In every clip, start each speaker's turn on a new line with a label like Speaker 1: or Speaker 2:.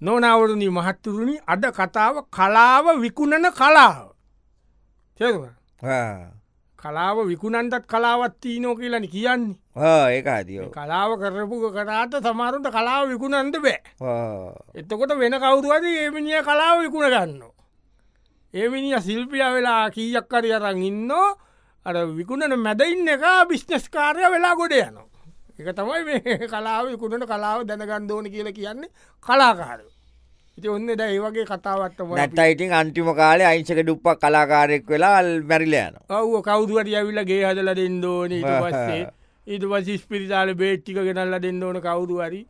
Speaker 1: නොනවරණී මහත්තුරුණි අද කතාව කලාව විකුණන කලාව තේරුණා? කලාව විකුණන්ටත් කලාවත් තිීනෝ කියලනි කියන්නේ
Speaker 2: ඒක අදියෝ
Speaker 1: කලාව කරපු කරාට සමාරුන්ට කලාව විකුණන්ට බෑ එතකොට වෙන කවුරුවද ඒමිනිිය කලාව විකුණ ගන්න. ඒමිනිිය සිල්පිය වෙලා කීයක්කරි අරන් ඉන්න අර විකුණන මැදඉන්න එක බිශ්නස්කාරය වෙලා ගොඩ යන. එක තමයි මේ කලාව විකුණට කලාව දැනගන්දෝන කියල කියන්නේ කලාකාර. ඉති ඔන්න ද ඒවගේ කතාවත්තම
Speaker 2: නැත්තයිඉතින් අන්තිම කාලේ අයිංසක ඩුප්පක් කලාකාරෙක් වෙලා මැරිලයන
Speaker 1: ඔව කවුරුවට ඇවිල්ලගේ හදල දෙන්න ඕන ඊට පස්සේ ඊට පස්ස ස්පිරිතාල බේට්ටික ගෙනල්ල දෙන්න ඕන කවුරු හරි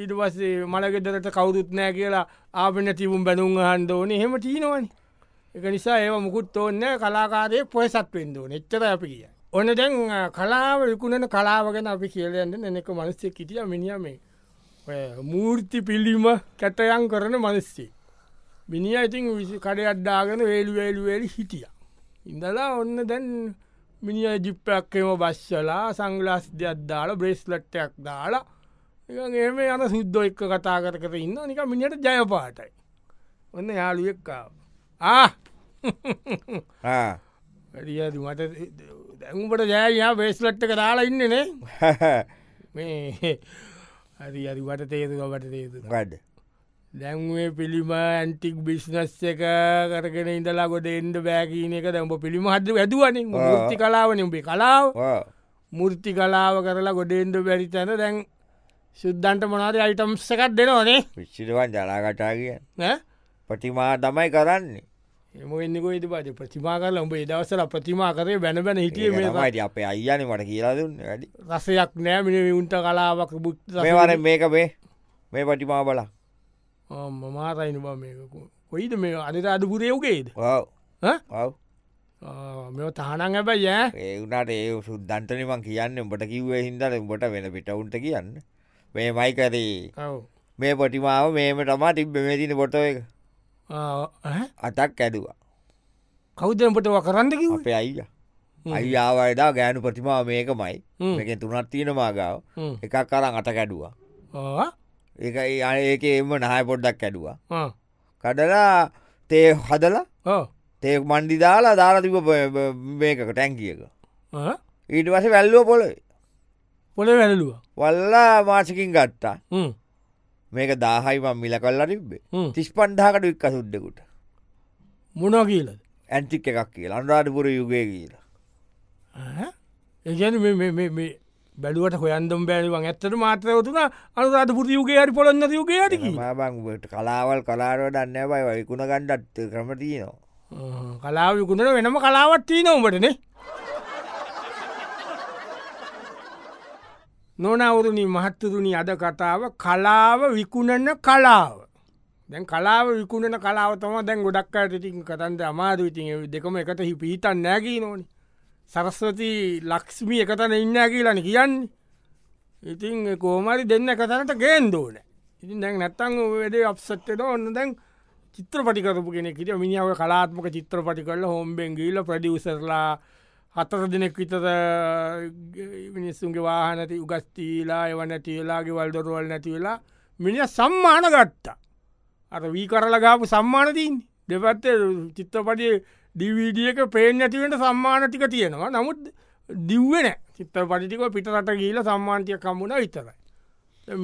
Speaker 1: ඊට පස්සේ මළගෙදරට කවුරුත් නෑ කියලා ආපෙන තිබුම් බැනුම් හන්ඩ ඕන හෙම තිීනවනි එක නිසා ඒ මුකුත් ඔන්න කලාකාරය පොයසත් වෙන්දෝන එච්චර අපි කිය ඔන්න දැන් අ, කලාව විකුණන කලාවගෙන අපි කියලයන්න නෙක මනස්සෙක් කිටිය මිනිියමේ මූර්ති පිල්ලිම කැටයන් කරන මනස්සේ මිනි ඉතින් විසි කඩ අඩ්ඩාගෙන වේලු වේලු වෙලි හිටිය. ඉඳලා ඔන්න දැන් මිනිිය ජිප්පයක්කම බශ්ෂලා සංගලාස් දෙයක් දාලා බ්‍රේස්ලට්ටයක් දාලා ඒම යන සිද්ධ එක්ක කතා කර කර ඉන්න නික මිනිට ජයපාටයි ඔන්න යාළුවෙක්කාව ආ වැඩිය මට දැන්ට ජයයා බේස්ලට්ක දාලා ඉන්නනේ මේ හරි අරිවට තේතුකට තේතු
Speaker 2: ගඩ
Speaker 1: දැන්ේ පිළිම ඇන්ටික් බිශ්නස් එක කරගෙන ඉඳලා ගොඩ එන්ඩ බෑකීන එක දැම්ඹ පිළිම හද ඇදුවන ෘති කලාවන උඹේ කලාව මුෘති කලාව කරලා ගොඩෙන්ඩ බැරි තැන දැන් සුද්දන්ට මොනාද අයිටම් සකත් දෙනවනේ
Speaker 2: විශ්ිරුවන් ජලාකටා කිය
Speaker 1: නෑ?
Speaker 2: පටිමා තමයි කරන්නේ
Speaker 1: එම එන්නකො ඉති පට ප්‍රතිමා කරල උඹ දවසල ප්‍රතිමා කරය බැන බැන හිටිය මේ
Speaker 2: ඒමයිට අපේ අයියන මට කියලා දුන්න වැඩි
Speaker 1: රසයක් නෑ මිනි උන්ට කලාවක් බුත්
Speaker 2: මේවර මේක මේ මේ පටිමා බලා
Speaker 1: මමාතයින බ මේකු කොයිද මේ අනිත අඩපුරයෝගේද
Speaker 2: ඔව්
Speaker 1: ඈ?
Speaker 2: ඔව්
Speaker 1: මෙ තහනං ඇබයි ෑ
Speaker 2: ඒ වුණට ඒ සුද්දන්ටනමන් කියන්න උඹට කිව්වේ හින්දල උඹට වෙන පිටවුන්ට කියන්න මේ මයිකරේ
Speaker 1: ඔව්
Speaker 2: මේ පොටිමාව මේම තමා තිබ්බ මේතින පොට එක අතක් ඇදවා
Speaker 1: කෞදම්පට කරන්න කිව
Speaker 2: අපේ අයිය අයිආවයදා ගෑනු ප්‍රතිමාව මේකමයි
Speaker 1: හ්ම්.
Speaker 2: එක තුනත් තියෙන මාගාව එකක් කරම් අට කැඩුවා ඒක ඒ- අය ඒක එම නහය පොඩ්ඩක් ඇඩුවා කඩලා තේ හදලා තේ මණ්ඩි දාලා දාරතිබ මේක ටැන්කියක ඊට වස වැල්ලුව පොළොයි
Speaker 1: පොල වැැලුව
Speaker 2: වල්ලා මාසකින් ගත්තා මේක දාහයිමම් මිල කල්ලා තිබ්බේ තිස් පන්්ඩාකට වික් සුද්ඩකුට
Speaker 1: මොනා කියලද
Speaker 2: ඇන්ටික් එකක් කියලා අන්රාධපුර යුගය කියලා
Speaker 1: එජන බැලුවට හොයන්දම් බැලුවන් ඇත්තට මාතයවතුන අනුරාධ පුරතියුගේ හරි පොළොන්න යුගේ අටක
Speaker 2: මාබංට කලාවල් කලාරව දන්න බයි වයිකුණ ගණ්ඩත් ක්‍රමතියනවා
Speaker 1: කලාවකුණට වෙනම කලාවත්තිී නොවටන නොනවුරුණි මහත්තතුරුණි අද කතාව කලාව විකුණන කලාව දැන් කලාව විකුණන කලාව තම දැන් ගොඩක් අයටඉතින් කතන්ද අමාරු ඉතින් දෙකම එකට හි පිහිතන් නෑකී නොනි සරස්වති ලක්ෂ්මි එකතන ඉන්න කියලන කියන්න ඉතින් කෝමරි දෙන්න කතනට ගේන්දෝන ඉතින් දැන් නැත්තං වැඩේ අප්සට්ට ඔන්න දැන් චිත්‍රපටිකරපු කෙනෙකට මිනිියාව කලාත්මක චිත්‍රපටි කරල හෝම්බෙන් ගීල ප්‍රඩියසරලා හතර දෙනෙක් විතර මිනිස්සුන්ගේ වාහනැති උගස්තීලා එවන තියලාගේ වල්දොරුවල් නැතිවෙලා මිනිිය සම්මාන ගත්තා අර වී කරලගාපු සම්මානතින් දෙපත්තේ චිත්‍රපටිය දිවිඩියක පේෙන් නැතිවට සම්මාන ටික තියෙනවා නමුත් දිව්වෙන චිත්‍රපටික පිටරට ගීල සම්මාන්තිය කම්මුණ විතරයි.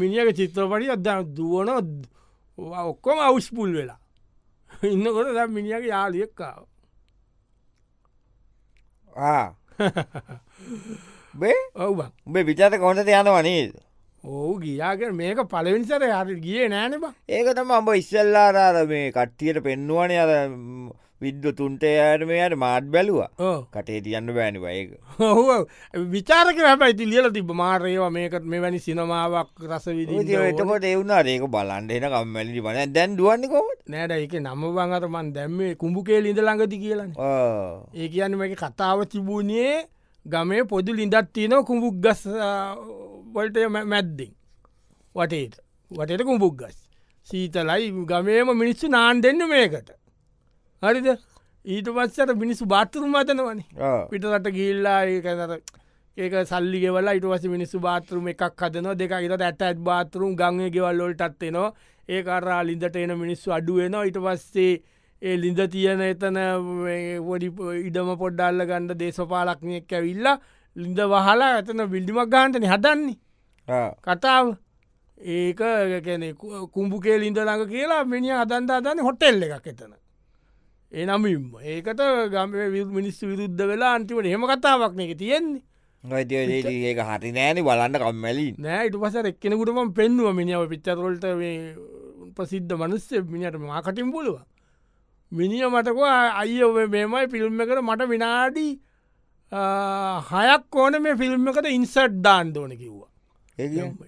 Speaker 1: මිනිියක චිත්‍රපටි අද දුවන ඔක්කොම අවුස්පුල් වෙලා ඉන්නකොට ද මිනිියගේ යාලියෙක්කාව
Speaker 2: බේ
Speaker 1: ඔවබන්
Speaker 2: උඹේ විචාත කොඳට යනවනේද
Speaker 1: ඕ ගියාක මේක පලවෙනිසර හරි ගිය නෑන බා
Speaker 2: ඒක තම අඹ ඉස්සල්ලාරාර මේ කට්ටියට පෙන්නුවන අර විද්්‍ය තුන්ටයට මේයට මාට් බැලවා
Speaker 1: ඕ
Speaker 2: කටේ තියන්න බෑනිවා ඒක
Speaker 1: ඔහු විචාරක හැබැයිති ලියල තිබ මාරයවා මේකත් මෙවැනි සිනමාවක් රස විදි
Speaker 2: එතකොට එවුණා ඒක බලන්ට එන කම්මැලි බන දැන් දුවන්නකොමට
Speaker 1: නෑට එක නම බංගතමන් දැම්මේ කුඹු කේ ලිඳ ළඟති කියලන ඒ කියන්න මේ කතාව තිබුණේ ගමේ පොදු ලිඳත් තියෙන කුඹුක් ගස් අ, වලට මැ- මැද්දෙන් වටේට වටට කුඹුක් ගස් සීතලයි ගමේම මිනිස්සු නාන් දෙන්න මේකට හරිද ඊට පස්සට මිනිස්සු බාත්තුරු මතනවනේ පිටරට ගිල්ලා ඒකනර ඒක සල්ලි ගෙවල ඉටවස මිනිස්සු බාතරුම එකක් හදන දෙක ඉට ඇට ඇත් බාතරුම් ගංය ගෙවල්ලොල්ටත්වෙනවා ඒ කරා ලින්දට එන මිනිස්සු අඩුවෙනවා ඉට පස්සේ ඒ ලින්ද තියන එතන වඩි ඉඩම පොඩ්ඩල්ල ගණ්ඩ දේශපාලක්නයක් ඇවිල්ලා ලින්ද වහලා ඇතන විිල්ඩිමක් ගාන්තන හදන්නේ කතාව ඒක කැනෙ කුම්ඹුකේ ලින්ද ළඟ කියලා මිනි අදන්දා දන්න හොටෙල්ල එකක් එතන එනම් ඒකට ගම මිනිස් විරුද්ධ වෙලා අන්තිමට හෙම කතාවක්න එක තියෙන්නේ
Speaker 2: ඒ හරි නෑන බලන්න කම්මැලි
Speaker 1: නෑ ඉට පස එක්කෙනකුටම පෙන්නුව මිනිාව පිච්චරොල්ට ප්‍රසිද්ධ මනුස්සේ මිනිට මාකටින් පුලුව මිනිිය මතක අය මෙමයි ෆිල්ම් එකට මට විනාඩි හයක් ඕන මේ ෆිල්ම් එකට ඉන්සට් ඩාන් දෝන කිව්වා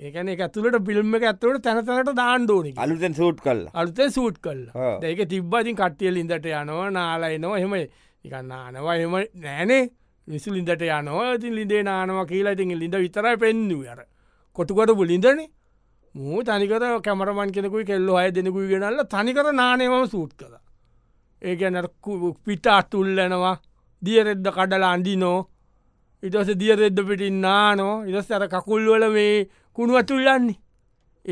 Speaker 1: ඒකන ඇතුලට පිල්ම් එක ඇතුවට තැනතනට දාණ්ඩෝනි
Speaker 2: අලුතෙන් සූට් කල්
Speaker 1: අලුත සූට් කල් ඒක තිබ්බාතින් කට්ටියල ඉඳට යනව නාලයිනෝ හෙම එකන්නානවා එම නෑනේ විසු ලින්දට යනවා ඉතින් ලිඳේ නානවා කියලා ඉතින් ලිඳ විතරයි පෙන්න්නු අර කොටුකොට පුලින්දන මූ තනිකර කැමරමන් කෙනෙකුයි කෙල්ලො අය දෙනෙකුයි ගෙනල්ල තනිකර නානයවම සූට් කළ ඒකනකු පිට අතුල්ලනවා දියරෙද්ද කඩලා අන්ඩිනෝ ඉටස දියරෙද්ද පිටින් නානෝ ඉටස් අර කකුල්වල මේ කුණු අතුල්ලන්නේ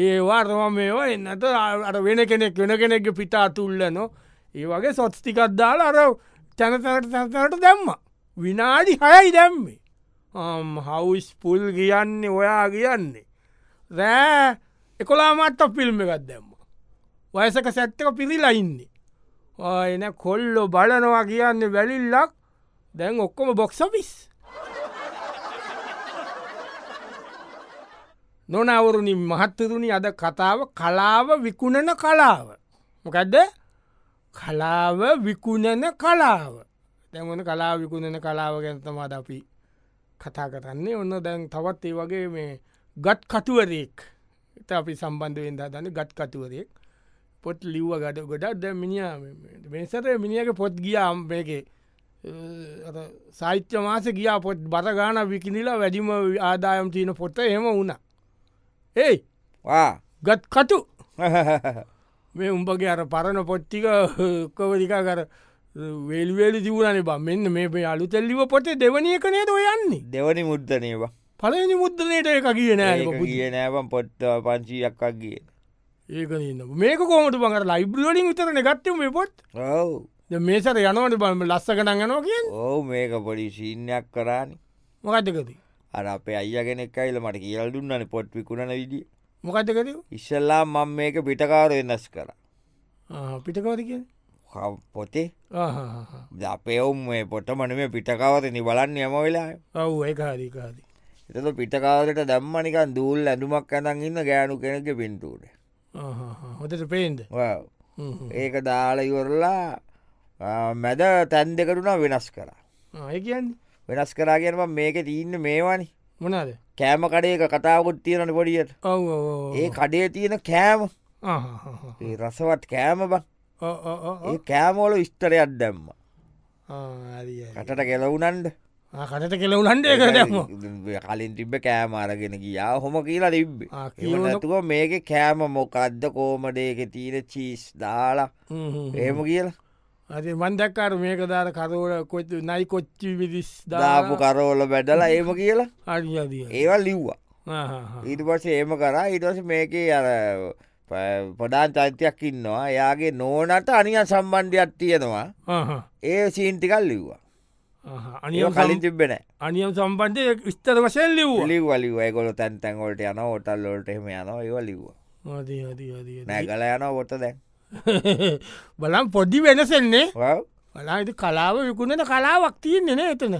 Speaker 1: ඒවා රම මේවා එන්නට අර වෙන කෙනෙක් වෙන කෙනෙක් පිටා තුල්ලනො ඒ වගේ සොත්ස්ටිකක්දාල අර තැනතනට තැනතනට දැම්ම විනාඩි හයයි දැම්මේ හවස් පුල් කියන්නේ ඔයා කියන්නේ රෑ එකොලාමට ෆිල්ම් එකත් දැම්ම වයසක සැත්තක පිරිලා ඉන්නේ එන කොල්ලො බලනවා කියන්නේ වැලිල්ලක් දැන් ඔක්කොම බොක්සපිස් නොනවරුණි මහත්තරුණි අද කතාව කලාව විකුණන කලාව. මොකදද කලාව විකුණන කලාව. තැමන කලා විකුණන කලාව ගැනතමාද අපි කතා කරන්නේ ඔන්න දැන් තවත් ඒ වගේ මේ ගත් කතුවරයෙක් එත අපි සම්බන්ධුවෙන් දන්න ගත් කතුවරයෙක් පොත් ලිව්ව ගඩ ගොඩක් ද මිනිිය මෙසර මිනිියගේ පොත් ගියාම් මේකේ සාහිත්‍ය මාස ගියා පොත් බරගාන විකිනිලා වැඩිම ආදායම් තියන පොත්ත එහෙම වුණ. ඒයි ගත් කටු මේ උඹගේ අර පරණ පොට්ටික කවරිකා කර වේල්වේලි තිවුණනේ බ මෙන්න මේ අලු තෙල්ලිව පොටේ දෙවනිය කනේද ඔයන්නේ
Speaker 2: දෙවනි මුද්දනේවා
Speaker 1: පලනි මුද්දනයට එක කියන
Speaker 2: කිය නෑම් පොට් පංචීයක්ක් කිය
Speaker 1: ඒක මේක කෝමට පඟට ලයිබ්‍රලින් විතරන ගත්තම පොට්
Speaker 2: ඔව
Speaker 1: මේසර යනවට බලම ලස්සකටන් යනවා කිය
Speaker 2: ඕ මේක පොඩි ශීනයක් කරානි
Speaker 1: මොකතකති
Speaker 2: අර අපේ අයගෙනෙක් අයිල මට කියල් දුන්නන පොට් විකුණන විඩිය
Speaker 1: මොකතකති
Speaker 2: ඉස්සල්ලා මං මේක පිටකාර වෙනස් කර
Speaker 1: පිටකවති කිය
Speaker 2: පොතේ අපේවුම් මේ පොටමන මේ පිටකාවතනි බලන්න යම වෙලා
Speaker 1: ඔව් ඒකාරිකාදී
Speaker 2: එතතු පිටකාවලට දම්මනිකන් දූල් ඇඳුමක් ඇනන් ඉන්න ගෑනු කෙනෙක පින්ටූට
Speaker 1: හොතට පේන්ද
Speaker 2: ඒක දාල ඉවරලා මැද තැන් දෙකටුනා වෙනස් කරා
Speaker 1: ඒකයන්
Speaker 2: වෙනස් කරාගෙනම මේක තියන්න මේවානි
Speaker 1: මොනාද
Speaker 2: කෑම කඩේක කතාවකුත් තියෙනට පොඩියට ඒ කඩේ තියෙන කෑම රසවත් කෑම බ ඒ කෑමෝල විස්තරයක් දැම්ම කටට කෙලවුනන්ඩ
Speaker 1: කටට කෙලවුනන්ඩ
Speaker 2: කලින් තිබ්බ කෑම අරගෙන ගියා හොම කියලා තිබ්බ තුව මේක කෑම මොකක්ද කෝමඩේක තීර චීස් දාලා එහෙම කියලා
Speaker 1: ඇති මන්දක්කාර මේක දාර කරෝල කොත් නයි කොච්චි විදිස්
Speaker 2: දාපු කරෝල බැඩලා ඒම කියලා
Speaker 1: අරිියදිය
Speaker 2: ඒවා ලිව්වා ඊට පස ඒම කරා ඉටස මේකේ අර පොඩාන් චෛත්‍යයක් ඉන්නවා එයාගේ නෝනට අනිියන් සම්බන්ධයක් තියෙනවා ඒ සීන්ටිකල් ලිව්වා අනිියම් කලින් තිබෙන
Speaker 1: අනියම් සම්බන්ධය විස්තර වශයෙන් ලිව්
Speaker 2: ලිව ලිව ගොල තැන්තැන්ගොලට යන ෝටල් ලොට එම යන ඒවා ලිව්වා නැගල යන ොට දැන්
Speaker 1: බලම් පොඩ්ඩි වෙනසෙන්නේ බලා කලාව විකුණට කලාවක් තියන්නේන එතන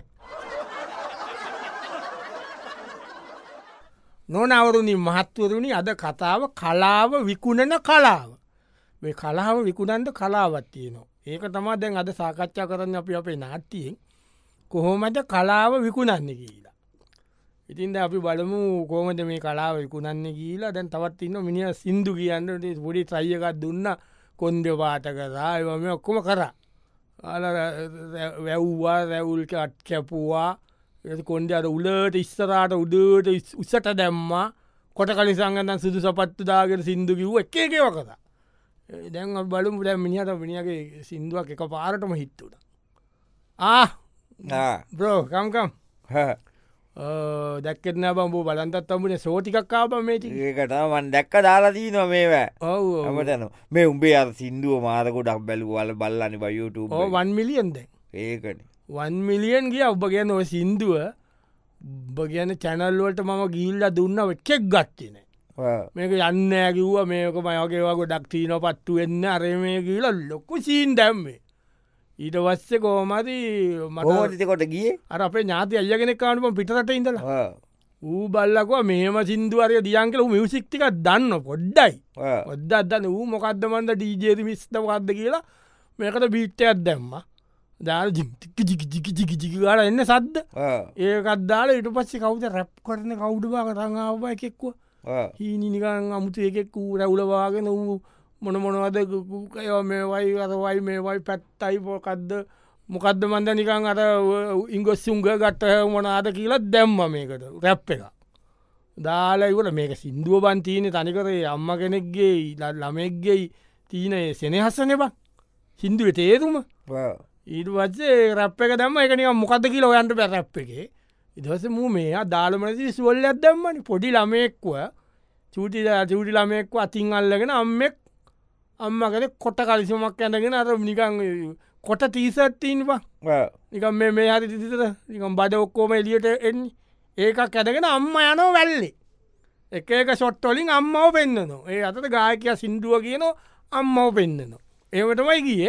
Speaker 1: නොනවරුණි මහත්වරුණි අද කතාව කලාව විකුණන කලාව මේ කලාව විකුණන්ට කලාවත් තියනවා ඒක තමා දැන් අද සාකච්ඡා කරන්න අපි අපේ නාට්තියෙන් කොහොමද කලාව විකුණන්න කියලා ඉතින්ද අපි බලමු කෝමද මේ කලාව විකුණන්න කියලා දැන් තවත් ඉන්න මිනිිය සින්දු කියන්නට පොඩි සයියකත් දුන්නා කොන්ද පාට කරා එවම ඔක්කොම කරා අල වැැව්වා රැවුල්ට අත් කැපුවා කොන්ඩ අර උලට ඉස්සරාට උඩට උසට දැම්මා කොට කලි සංගන්න සුදු සපත්තුදාගෙන සිින්දු කිව් එකේකව කතා දැන් බලමු දැ මිනිහට මිනිියගේ සිින්දුවක් එක පාරටම හිත්තුට ආ බ්‍රෝ කම්කම් දැක්කෙන බම්බූ බලන්තත් අඹුණ සෝතිකක්කාප මේටි
Speaker 2: ඒකටමන් දැක්ක දාලාදී නො මේවෑ ඔමටන මේ උඹේ අ සින්දුව මාරකොඩක් බැලුවල බල්ලන්න බයුට
Speaker 1: වන් මිලියන්ද
Speaker 2: ඒකන
Speaker 1: වන් මිලියන් ගිය ඔබ ගැන ඔය සින්දුව උබ ගැන චැනල්වලට මම ගිල්ල දුන්න වෙච්චෙක් ගත්තින මේක යන්න ඇකිව්ව මේක මයකේවගේ ඩක්තිීන පත්තු වෙන්න අරය මේ කියලා ලොක්කු සීන් දැම්මේ ඊට වස්ස කෝමති
Speaker 2: මෝතිකොට ගිය
Speaker 1: අර අපේ ඥාති අල්ලගෙන කානුම පිටට ඉඳල ඌ බල්ලකවා මේම සිින්දුවරය දියන්කල මියසික්තික දන්න පොඩ්ඩයි ඔොද්ද අදන්න වූ මොකක්දමන්ද ඩීජේති මිස්ත කක්ද කියලා මේකට බීට්ටයක් දැම්ම දාල ජිික ජික ජික ජික ජිකිකාර එන්න සද්ද ඒකත්දාල ඉට පස්සේ කවුද රැප් කරන කවුඩවා කරඟාව එකෙක්ව හීනිනිකං අමුතු එකෙක් වූ රැවුලවාගෙන වූ මොන මොනවද කය මේවයි අරවයි මේවයි පැත්තයි පොකක්ද මොකක්ද මන්ද නිකං අර ඉංගොස්සුංග ගත්ත මොනාද කියලා දැම්ම මේකට රැප් එක දාලයිවට මේක සින්දුව බන් තියනෙ තනිකරේ අම්ම කෙනෙක්ගේ ළමෙක්ගේ තියන සෙනහස්සන බ සින්දුව තේරුම ඊට වච්චේ රැප් එක දැම්ම එකනික මොකද කියලා ඔයන්ට පැ රැප් එකේ ඉදස මූ මේ දාළමනසි සුවල්ලයක් දැම්මනි පොඩි ළමෙක්ව චූටි චූටි ළමෙක්ව අතින් අල්ලගෙන අම්මෙක් අම්මකද කොට කලිසුමක් ඇඳගෙන අර නිකං කොට තීසත්තින්වා නිකම් මේ මේ හරි තිතර නිකම් බඩ ඔක්කෝම එලියට එන්නේ ඒකක් ඇදගෙන අම්ම යනෝ වැල්ලේ එක එක ෂොට්ටොලින් අම්මව පෙන්න්නනවා ඒ අතට ගායකය සින්දුව කියනෝ අම්මව පෙන්න්නනවා ඒවටමයි ගිය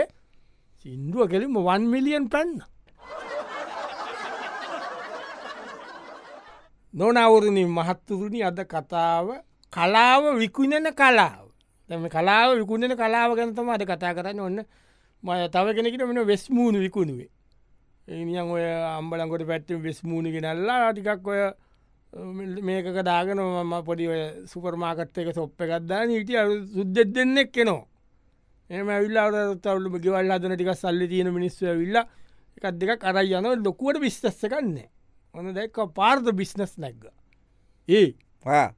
Speaker 1: සින්දුව කෙලින්ම වන් මිලියන් පැන්න නොනවුරණින් මහත්තුරුණි අද කතාව කලාව විකුණන කලාව තම කලාව විකුණන කලාව ගැනතම අද කතා කරන්න ඔන්න මය තව කෙනෙකට මෙන වෙස්මූුණු විකුණුවේ එනියන් ඔය අම්බලකොට පැත්ති වෙස්මූුණි ගෙනල්ලා ටිකක් ඔය මේක දාගෙන මම පොඩි සුපර්මාකට් එක සොප්ප එකක්දා නීටිය සුද්දෙත් දෙන්නෙක් කෙනවා එම විල්ලාට තවලු ගෙවල් අදන ටික සල්ලි තියෙන මිනිස්සු විල්ලා එකත් දෙක අරයි යන ලොකුවට විිස්්ටස්ස කන්නේ ඔන්න දැක්ක පාර්ද බිස්නස් නැක්ග ඒ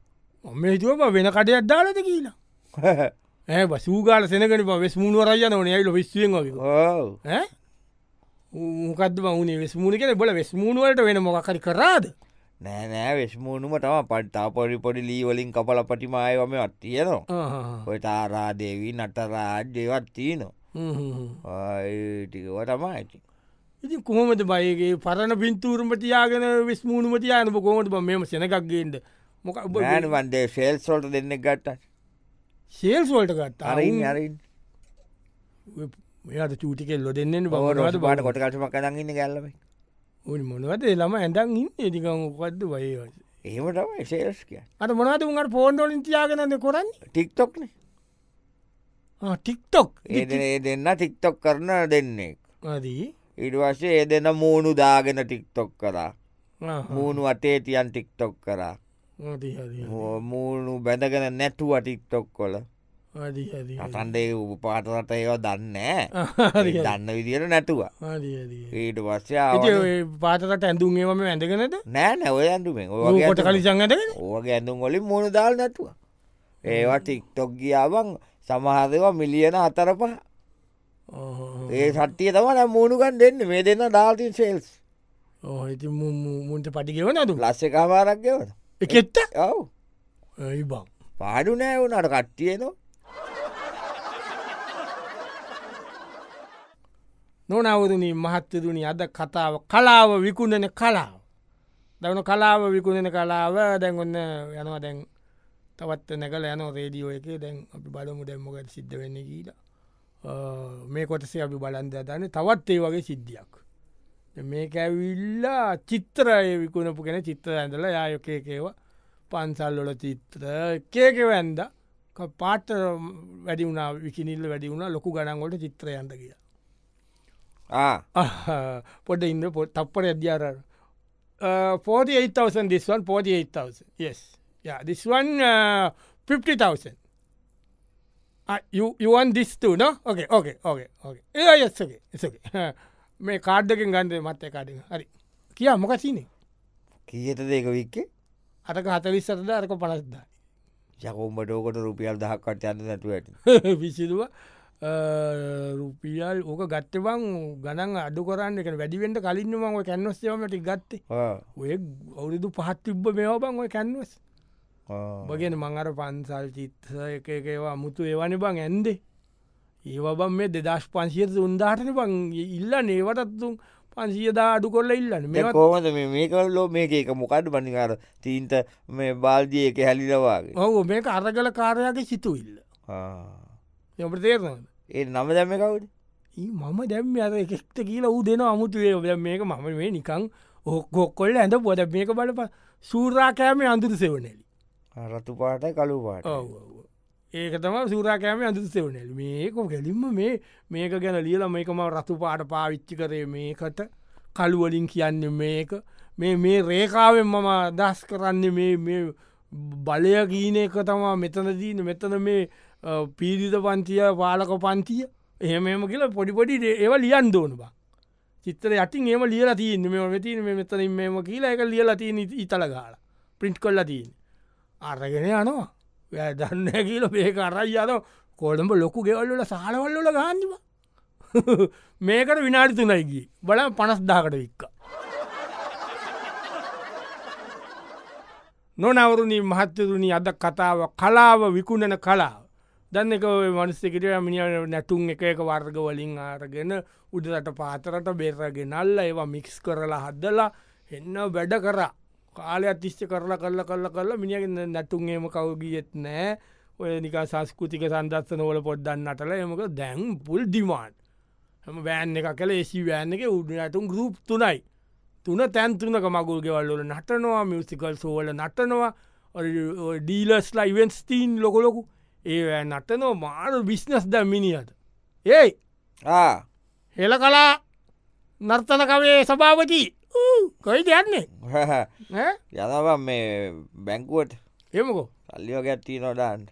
Speaker 1: මේතුව වෙන කටයක් දාලද කියලා ඒ සූගාල සෙනකට වෙස්මුණ රජයන නයයිල විස්ුවෙන් මොකද වනේ වෙස්මුණ කෙන බොල වෙස්මුණුවලට වෙන මොකරි කරාද
Speaker 2: නෑ නෑ වෙස්මුණුම තම පට්තා පොඩි පොඩි ලීවලින් කපල පටිමායවම අත්තියනවා ඔය තාරාදේවී නටරාජ්‍යවත් තියනවා ටිකව තමා ඇති
Speaker 1: ඉති කොහොමද බයගේ පරණ පින්තූරම තියාගෙන විස්මුණුම තියනප කොමට බ මෙම සෙනකක්ගේට මොක
Speaker 2: බෑන්වන්දේ ශේල් සොල්ට දෙන්න ගට්ට
Speaker 1: ශේල් සෝල්ට ගත්
Speaker 2: අරින් අරින්
Speaker 1: මෙයාට චූටිකෙල්ල දෙන්නෙන්
Speaker 2: බවට බට කොටකටම කදගන්න ගැල්ලම
Speaker 1: උනි මොනවද ළම ඇඳන් ඉන්න ඒටිකං උපද්ද වයවස
Speaker 2: ඒමටම ශේල්ස් කිය
Speaker 1: අට මොනාද උන්ට පෝන්ඩෝලින් තියාගෙනද කොරන්න
Speaker 2: ටික්ටොක්න
Speaker 1: ටික්ටොක්
Speaker 2: ඒ දෙන්න ටික්ටොක් කරන දෙන්නෙක්
Speaker 1: දී
Speaker 2: ඉඩවශේ ඒ දෙන මූුණු දාගෙන ටික්ටොක් කරා මූුණු අතේ තියන් ටික්ටොක් කරා මූුණු බැඳගෙන නැටුව ටික්ටොක් කොල අතන්ඩේ උපපාටරට ඒවා දන්න දන්න විදියට නැටුව ඊට වස්්‍යය
Speaker 1: පාතකට ඇඳුම් ඒම ඇඳගෙනද
Speaker 2: නෑ නැව ඇඳුමෙන්
Speaker 1: කොට කලිසංගද
Speaker 2: ඕක ඇඳුම් ගොලින් මූුණු දාල් නැටුව ඒවා ටික්ටොක් ගියාවන් සමහදවා මිලියන අතර පහ ඒ සට්ටිය තම මූුණුකන් දෙන්න මේ දෙන්න ඩාල්ටින් සෙල්ස්
Speaker 1: ඕහති මුන්ට පටිගෙවන තු
Speaker 2: ලස්ස කාමාරක් ගෙවන
Speaker 1: එකෙත්ත
Speaker 2: ඔව
Speaker 1: ඒ බං
Speaker 2: පාඩු නෑ වුනට කට්ටියන
Speaker 1: නොනවදන මහත්තදුනි අද කතාව කලාව විකුණන කලාව දවුණු කලාව විකුණන කලාව දැන්ගොන්න යනවා දැන් තවත් නැකල යන රේඩියෝ එක දැන් අපි බලමු දැම්මකට සිද්ධ වෙන්න කියලා මේ කොටසේ අපි බලන්ද දන්න තවත් ඒ වගේ සිද්ධියක් මේක ඇවිල්ලා චිත්‍රය විකුණපු කෙන චිත්‍ර ඇඳල යායකේකේව පන්සල්ලොල චිත්‍ර කේකව ඇන්ද පාට වැඩි වුණා විකිනිල්ල වැඩි වුණා ලොකු ගණන්ගොට චිත්‍රය ඇඳ කිය පොඩ ඉන්න පොත් තප්පර ඇද්‍යාර 48,000 Uh, this one 48,000 yes yeah this one uh, 50,000 you, you want this too no okay okay okay okay yeah yes okay it's okay මේ කාඩ් එකෙන් ගන්ද මත් කාඩ හරි කියා මොක සීනේ
Speaker 2: කීයට දෙක වික්කේ
Speaker 1: අරක හතවිස්සරද අරක පනස්දා
Speaker 2: යකොම්බටෝකොට රුපියල් දහක්කට යන්න නැතුව ඇට
Speaker 1: විසිදුව Uh, රුපියල් ඕක ගත්තවන් ගණන් අඩු කරන්න එක වැඩිවෙන්ට කලින්ම ඔය කැන්වස්සේමට ගත්තේ ඔය අවුරුදු පහත් තිබ්බ මේෝබන් ඔය කැන්වස් බගෙන මං අර පන්සල් චිත්ස එක එකවා මුතු ඒවනි බං ඇන්දේ ඒවබන් මේ දෙදශ පන්සියට උන්දාටන බං ඉල්ල නේවටත්තුන් පන්සියදා අඩු කොල්ල ඉල්ලන්න
Speaker 2: මේ කෝමද මේකල්ලෝ මේක එක මොකඩ බනිකාර තීන්ත මේ බාල්දිය එක හැලිදවාගේ
Speaker 1: ඔහු මේක අර කල කාරයාගේ සිතු ඉල්ල යපට තේරනද
Speaker 2: ඒ නම දැම කවුට
Speaker 1: මම දැම් අර එකෙක්ට කියලා ූ දෙන අමුතුේ ද මේක මම මේ නිකං ඔක්කොක්කොල්ල ඇඳ පොද මේක බලප සූරාකෑමේ අඳුර සෙවනෙලි
Speaker 2: රතු පාට කලු පාට
Speaker 1: ඒක තම සූරාකෑම අඳු සෙවනෙල් මේකො ගැලින්ම මේ මේක ගැන ලියල මේකම රතු පාට පාවිච්චි කරේ මේකට කළුවලින් කියන්න මේක මේ මේ රේකාවෙන් මම දස් කරන්න මේ බලය ගීනයක තමා මෙතන දීන මෙතන මේ පීරිත පන්තිය පාලක පන්තිය එහෙමම කියලා පොඩිපොඩි ඒව ලියන් දෝන බා චිත්තර යටටින් ඒම ලියලා තියන්න මෙම වෙතින මෙතන මෙම කියලා එක ලියලා තියෙන ඉතල ගාල පින්ට් කොල්ල තියන් අරගෙන යනවා වැ දන්න කියල මේක අරයි යන කොළඹ ලොකු ගෙවල්ලට සහලවල්ලල ගාන්නවා මේකට විනාඩි තුනයිගී බල පනස් දාකට වික්ක නොනවරුණී මහත්තතුනි අද කතාව කලාව විකුණන කලාව දන්න එක මනස්සකට මිනිිය නැතුන් එක එක වර්ග වලින් ආරගෙන උඩරට පාතරට බේරගෙනල්ල ඒවා මික්ස් කරලා හදදලා එන්න වැඩ කරා කාලය අතිශ්්‍ය කරලා කරලා කරල කරලා මිනිියගන්න නැතුන්ගේම කවගියත් නෑ ඔය නික සංස්කෘතික සන්දස්සන වල පොඩ්ඩන්නටල එමක දැන් පුල් ඩිමාන්් හම බෑන් එක කළ ඒසි වෑන් එක උඩ නැතුන් ගරුප් තුනයි තුන තැන්තුනක මගුල්ගෙවල්ලල නටනවා මියසිකල් සෝල නටනවා ඩීලස්ලා ඉවෙන්ස්ටීන් ලොකොලොකු ඒ නටනෝ මාරු බිස්නස් ද මිනිියට ඒයි හෙල කලා නර්තන කවේ සභාවති කොයි දයන්නේ
Speaker 2: යනවා මේ බැංකුවට
Speaker 1: එමකෝ
Speaker 2: සල්ලියෝ ගැත්ති නොඩාන්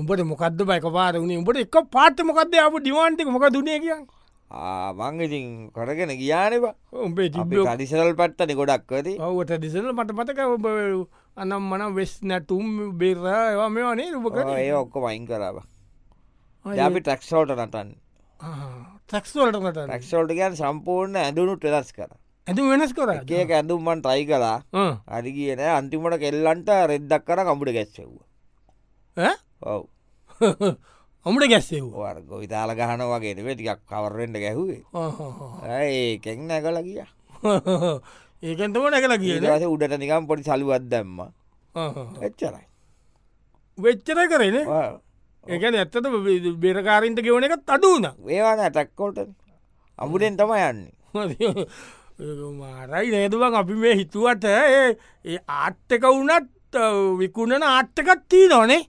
Speaker 1: උඹට මොකක්ද බයික පාර වුණේ උඹට එක පාට මොකක්ද අප ඩිවාන්ටික මොක දුනේ කියන්න
Speaker 2: මංගඉතින් කරගෙන ගියානවා උඹේ අඩිසරල් පට්ටන ගොඩක්කද
Speaker 1: ඔවට දිසල මට මතක ඔබ අනම් මන වෙස් නැටුම් බෙර ඒවා මෙවානේ රපක
Speaker 2: ඒ ඔක්කො වයින් කරාව අපි ටක්ෂෝට නටන්
Speaker 1: තක්ස්වලට
Speaker 2: ටක්ෂෝල්ට ගැන් සම්පූර්ණ ඇඳුණු ටෙදස් කර
Speaker 1: ඇතු වෙනස් කර
Speaker 2: ඒක ඇඳුම්මන් ටයි කලා අරි කියන අන්තිමට කෙල්ලන්ට රෙද්දක් කර කමුට ගැස්සෙව්ව ඔව්
Speaker 1: හොමට ගැස්සෙව
Speaker 2: වර්ග විතාල ගහන වගේ වෙටික් කවරෙන්ට ගැහුවේ ඒකෙන් නැකල කිය
Speaker 1: ඒකතම නැකල
Speaker 2: කියදස උඩට නිකම් පොඩි සලුවත් දැම්ම එච්චරයි
Speaker 1: වෙච්චර කරන ඒක ඇත්තට බෙරකාරින්ට ගෙවන එක තඩුන
Speaker 2: ඒවාන ඇටක්කොට අමුඩෙන් තම යන්නේ
Speaker 1: මාරයි නේදුවක් අපි මේ හිතුවට ඒ ආර්ථක වුනත් විකුණන ආර්ථකත් තිී නොනේ